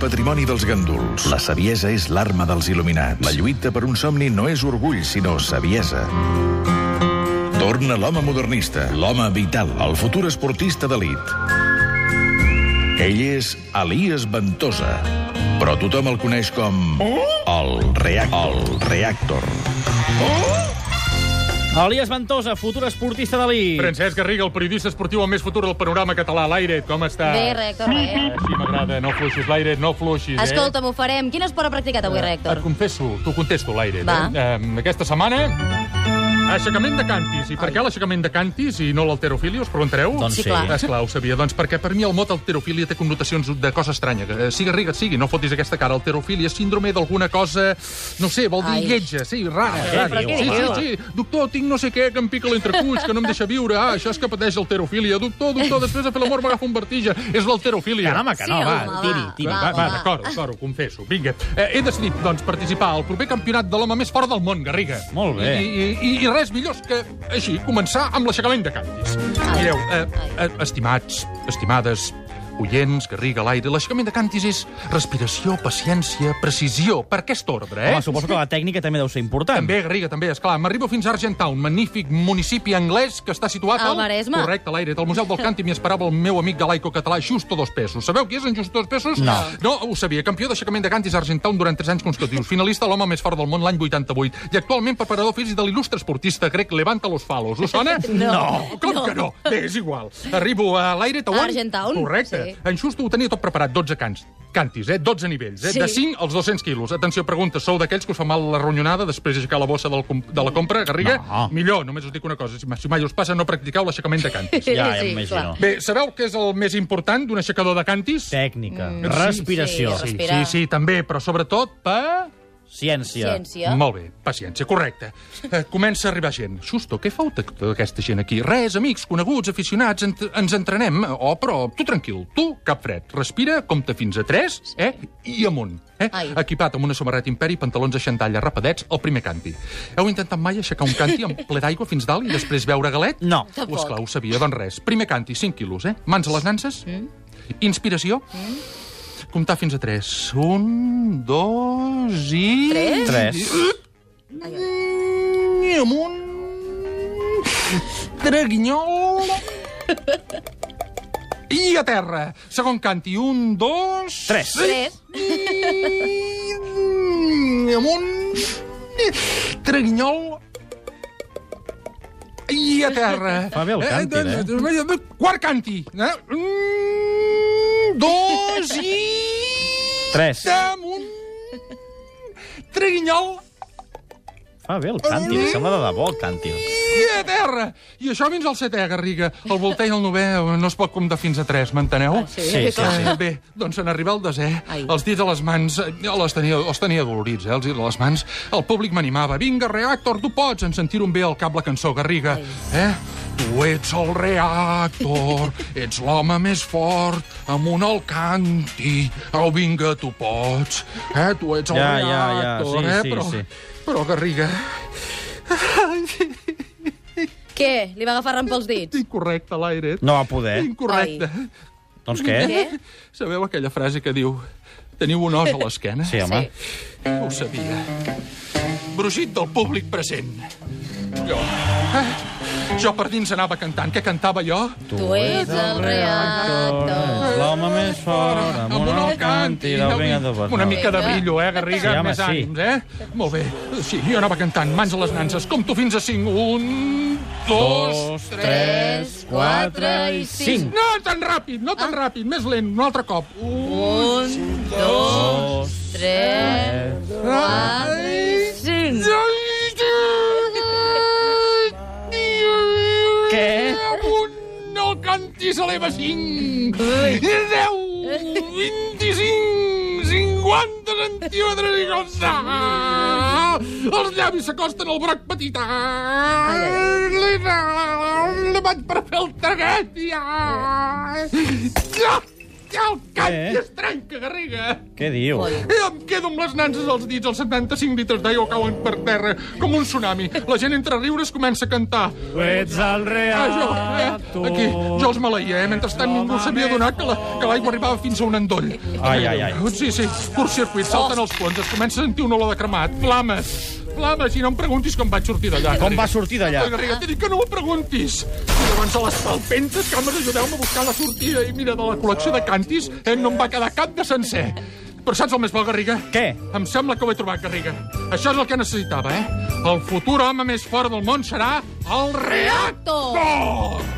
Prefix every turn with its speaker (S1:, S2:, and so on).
S1: patrimoni dels ganduls. La saviesa és l'arma dels il·luminats. La lluita per un somni no és orgull, sinó saviesa. Torna l'home modernista, l'home vital, el futur esportista d'elit. Ell és Elias Ventosa, però tothom el coneix com... El Reactor. El Reactor.
S2: Elias Ventosa, futur esportista d'Ali.
S3: Francesc Garriga, el periodista esportiu amb més futur del panorama català. L'aire, com està?
S4: Bé, Rector, bé.
S3: Així m'agrada, no fluixis l'aire, no fluixis,
S4: Escolta'm, ho farem. Quin esport ha practicat avui,
S3: eh? Et
S4: Rector?
S3: confesso, t'ho contesto, l'aire.
S4: Va.
S3: Eh? Eh, aquesta setmana... Aixecament de cantis. I per què l'aixecament de cantis i no l'alterofília, us preguntareu?
S2: Doncs
S4: Sí, clar.
S3: Esclar, ho sabia. Doncs perquè per mi el mot alterofília té connotacions de cosa estranya. Eh, Sigui riga, sigui, no fotis aquesta cara. Alterofília és síndrome d'alguna cosa... No sé, vol dir
S4: Ai.
S3: lletja, sí, rara.
S2: què
S3: rara.
S2: diu?
S3: Sí, sí,
S2: Diu.
S3: sí. Doctor, tinc no sé què que em pica l'entrecuix, que no em deixa viure. Ah, això és que pateix alterofília. Doctor, doctor, després de fer l'amor m'agafa un vertigen. És l'alterofília.
S2: Caramba, que no,
S4: Sí,
S2: va,
S4: home, va.
S2: tiri, tiri.
S3: Va, va, va, d'acord, d'acord, ho confesso. Vinga, eh, he decidit, doncs, participar al proper campionat de l'home més fort del món, Garriga.
S2: Molt bé.
S3: I, i, i res millor que, així, començar amb l'aixecament de canvis.
S4: Ai.
S3: Mireu, eh, eh, estimats, estimades, oients, Garriga, l'aire, l'aixecament de cantis és respiració, paciència, precisió, per aquest ordre, eh?
S2: Home, suposo que la tècnica també deu ser important.
S3: També, Garriga, també, esclar. M'arribo fins a Argentown, magnífic municipi anglès que està situat
S4: Al Maresme.
S3: Correcte, a l'aire. Al Museu del Cant i m'hi esperava el meu amic galaico català, Justo Dos Pesos. Sabeu qui és en Justo Dos Pesos?
S2: No.
S3: No, ho sabia. Campió d'aixecament de cantis a Argentown durant 3 anys consecutius. Finalista l'home més fort del món l'any 88. I actualment preparador físic de l'il·lustre esportista grec Levanta los Falos. Us sona?
S2: No.
S3: Com que no? Bé, és igual. Arribo a l'aire, Tauan.
S4: A Argentown,
S3: Correcte.
S4: sí.
S3: En Justo ho tenia tot preparat, 12 cants. Cantis, eh? 12 nivells, eh?
S4: Sí.
S3: De 5 als 200 quilos. Atenció, pregunta, sou d'aquells que us fa mal la ronyonada després d'aixecar la bossa del com- de la compra, Garriga?
S2: No.
S3: Millor, només us dic una cosa, si ma- si mai us passa, no practiqueu l'aixecament de cantis.
S2: Ja, ja
S4: Sí, sí,
S2: m'imagino.
S4: clar.
S3: Bé, sabeu què és el més important d'un aixecador de cantis?
S2: Tècnica, respiració,
S4: Mm. sí,
S3: Sí, sí,
S4: Respirar.
S3: sí, també, però sobretot per...
S2: ciència.
S4: Ciència.
S3: Molt bé, paciència, correcte. Eh, comença a arribar gent. Justo, què fa tota aquesta gent aquí? Res, amics, coneguts, aficionats, ent ens entrenem. Oh, però tu tranquil, tu, cap fred. Respira, compta fins a 3, eh? I amunt. Eh?
S4: Ai.
S3: Equipat amb una samarreta imperi, pantalons de xandalla, rapadets, el primer canti. Heu intentat mai aixecar un canti amb ple d'aigua fins dalt i després veure galet?
S2: No.
S4: Tampoc.
S3: Tampoc. Esclar, ho sabia, doncs res. Primer canti, 5 quilos, eh? Mans a les nances, mm. inspiració, mm. comptar fins a 3. Un, dos i...
S4: Tres?
S2: Tres.
S3: I amunt... Treguinyol... I a terra. Segon canti, un, dos...
S2: Tres.
S4: Tres.
S3: I amunt... Treguinyol... I a terra.
S2: Fa bé el càntir, eh?
S3: eh? Quart canti. Eh? Un, dos i...
S2: Tres.
S3: Amunt... Treguinyol...
S2: Fa bé el càntir, em sembla de debò el càntir.
S3: I a terra! I això fins al setè, Garriga. El voltei i el novè eh, no es pot comptar fins a tres, m'enteneu?
S4: Sí,
S2: Sí, sí,
S4: clar.
S2: sí.
S3: Eh, bé, doncs en arribar al desè,
S4: Ai.
S3: els dits a les mans, eh, les tenia, els tenia dolorits, eh, els dits a les mans, el públic m'animava. Vinga, Reactor, tu pots! En sentir un bé al cap la cançó, Garriga. Eh? Tu ets el Reactor, ets l'home més fort, amunt al canti. Au, vinga, tu pots. Eh? Tu ets el
S2: Ja, ja, ja,
S3: Reactor,
S2: sí,
S3: eh?
S2: sí,
S3: però,
S2: sí.
S3: però, Garriga,
S4: Què? Li va agafar ram pels dits?
S3: incorrecte l'aire.
S2: No eh? va poder.
S3: Incorrecte.
S2: Doncs què?
S4: Què?
S3: Sabeu aquella frase que diu teniu un os a l'esquena?
S2: Sí, home.
S3: Ho sabia. Brugit del públic present. Jo... Eh? Jo per dins anava cantant. Què cantava jo?
S4: Tu ets el
S2: ets
S4: reactor.
S2: l'home més fort, amb un alt càntir, el vinga de Bernal.
S3: Una mica de
S4: Vinga.
S3: brillo, eh, Garriga?
S2: Sí, home,
S3: Més
S2: sí.
S3: ànims, eh? Molt bé. Sí, jo anava cantant, mans a les nances. Compto fins a cinc. Un, dos,
S2: Dos,
S3: tres...
S4: Tres, quatre i cinc.
S3: No tan ràpid, no tan ràpid. Més lent, un altre cop. Un,
S4: Un, dos,
S2: Dos,
S4: tres,
S2: tres,
S4: quatre i cinc.
S2: Què?
S3: Un, no cantis a l'Eva 5. 10, 25, 50 centímetres i com està. Els llavis s'acosten al broc petit. Li, li vaig per fer el traguet. Ja. Ja. al cap
S2: Eh?
S3: i es trenca, Garriga.
S2: Què diu?
S4: Coi.
S3: I Eh, em quedo amb les nances als dits, els 75 litres d'aigua cauen per terra, com un tsunami. La gent entre riures comença a cantar.
S2: Tu ets el
S3: Ah, jo, eh? Aquí, jo els maleia, eh? Mentrestant ningú s'havia adonat que la- que l'aigua arribava fins a un endoll.
S2: Ai, ai, ai.
S3: Sí, sí, curt circuit, salten
S2: Oh.
S3: els ponts, es comença a sentir una olor de cremat, flames, flames, i no em preguntis com vaig sortir d'allà.
S2: Com va sortir d'allà?
S3: Oi, Garriga, t'he dit que no m'ho preguntis. I llavors a les palpentes, cames, ajudeu-me a buscar la sortida. I mira, de la col·lecció de cantis, eh, no em va quedar cap de sencer. Però saps el més bo, Garriga?
S2: Què?
S3: Em sembla que ho he trobat, Garriga. Això és el que necessitava, eh? El futur home més fort del món serà el reactor!